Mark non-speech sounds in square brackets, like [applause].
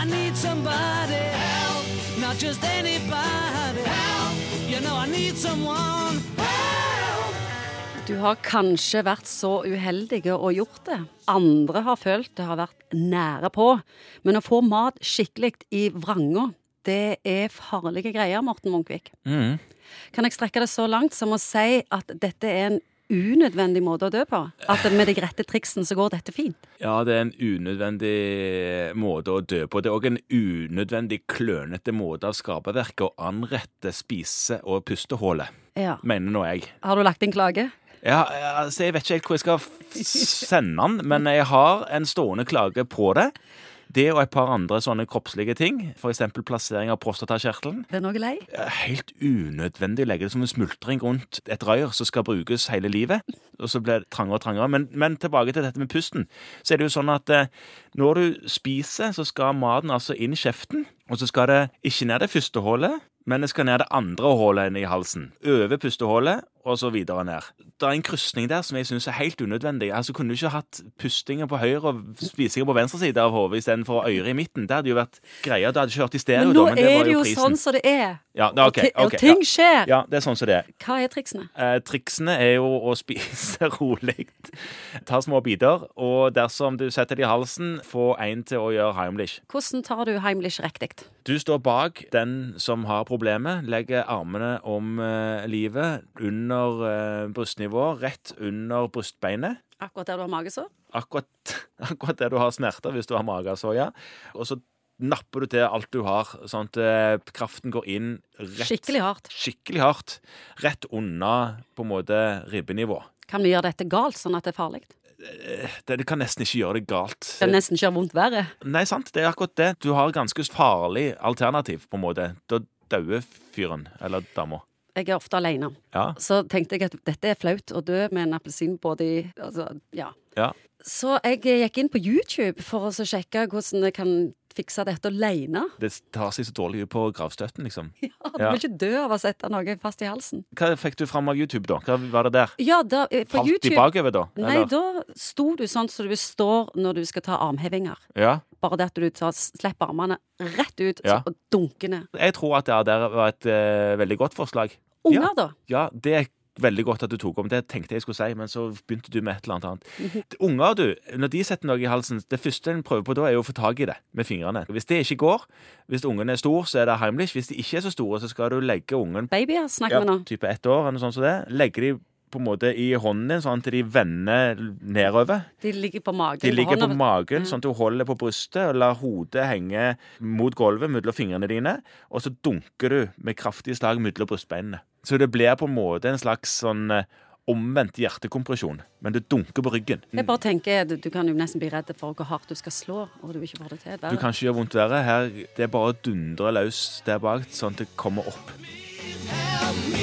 I need somebody help, not just anybody help. You know I need someone help. Du har kanskje vært så uheldige og gjort det. Andre har følt det har vært nære på. Men å få mat skikkelig i vranga, det er farlige greier, Morten Munkvik. Mm. Kan jeg strekke det så langt som å si at dette er en unødvendig måte å dø på? At med de rette triksen så går dette fint? Ja, det er en unødvendig måte å dø på. Det er òg en unødvendig klønete måte av skaperverket å anrette spise- og pustehullet, Ja. mener nå jeg. Har du lagt inn klage? Ja, altså, jeg vet ikke helt hvor jeg skal f- sende den, men jeg har en stående klage på det. Det og et par andre sånne kroppslige ting, f.eks. plassering av prostatakjertelen. Den òg lei? er eh, Helt unødvendig å legge det som en smultring rundt et rør som skal brukes hele livet. Og så blir det trangere og trangere. Men, men tilbake til dette med pusten. Så er det jo sånn at eh, når du spiser, så skal maten altså inn i kjeften. Og så skal det ikke ned det første hullet, men det skal ned det andre hullet i halsen. Over pustehullet, og så videre ned. Det er en krysning der som jeg syns er helt unødvendig. Altså Kunne du ikke hatt pustinger på høyre og spisinger på venstre side av hodet istedenfor øret i midten? Det hadde jo vært greia. Det hadde ikke hørt i stereo, Men da, nå men det er var det jo jo prisen. sånn som det er. Ja, det, og, ok, ok, ti- og ting ja. skjer. Ja, det er sånn som det er. Hva er triksene? Eh, triksene er jo å spise [laughs] rolig. Ta små biter, og dersom du setter det i halsen, få en til å gjøre Heimlich. Hvordan tar du Heimlich riktig? Du står bak den som har problemet, legger armene om eh, livet under eh, brystnivå, rett under brystbeinet. Akkurat der du har magesår? Akkurat, [laughs] akkurat der du har smerter, hvis du har magesår, ja. Og så napper du til alt du har, sånn at eh, kraften går inn rett Skikkelig hardt. skikkelig hardt. Rett unna på en måte ribbenivå. Kan vi gjøre dette galt, sånn at det er farlig? Det, det kan nesten ikke gjøre det galt. Det nesten ikke gjør vondt verre. Nei, sant, det er akkurat det. Du har et ganske farlig alternativ, på en måte. Da dauer fyren, eller dama. Jeg er ofte alene. Ja, Så tenkte jeg at dette er flaut å dø med en appelsin både i Altså, ja. ja. Så jeg gikk inn på YouTube for å så sjekke hvordan jeg kan fikse dette alene. [laughs] Det tar seg så dårlig ut på gravstøtten, liksom. Du Ja. vil ikke dø av å sette noe fast i halsen. Hva fikk du fram av YouTube, da? Hva var det der? Ja, da, eh, på Falt de YouTube bakover, da? Nei, da sto du sånn som du står når du skal ta armhevinger. Ja. Bare det at du tar, slipper armene rett ut Ja. så- og dunker ned. Jeg tror at det der var et eh, veldig godt forslag. Unger, Ja. da. Ja, det er veldig godt at du tok om. Det tenkte jeg skulle si, men så begynte du med et eller annet annet. Unger, du, når de setter noe i halsen, det første en prøver på da, er jo å få tak i det med fingrene. Hvis det ikke går, hvis ungen er stor, så er det Heimlich. Hvis de ikke er så store, så skal du legge ungen Babyer snakker ja, vi nå. type ett år eller noe sånt som det. Legge de på en måte i hånden din, sånn at de vender nedover. De ligger på magen. De ligger på hånda. magen, sånn at du holder på brystet og lar hodet henge mot gulvet mellom fingrene dine, og så dunker du med kraftige slag mellom brystbeinene. Så det blir på en måte en slags sånn eh, omvendt hjertekompresjon, men det dunker på ryggen. Jeg bare tenker, du, du kan jo nesten bli redd for hvor hardt du skal slå, og du ikke får det til. Du kan ikke gjøre vondt verre. Her, det er bare å dundre løs der bak, sånn at det kommer opp. Help me,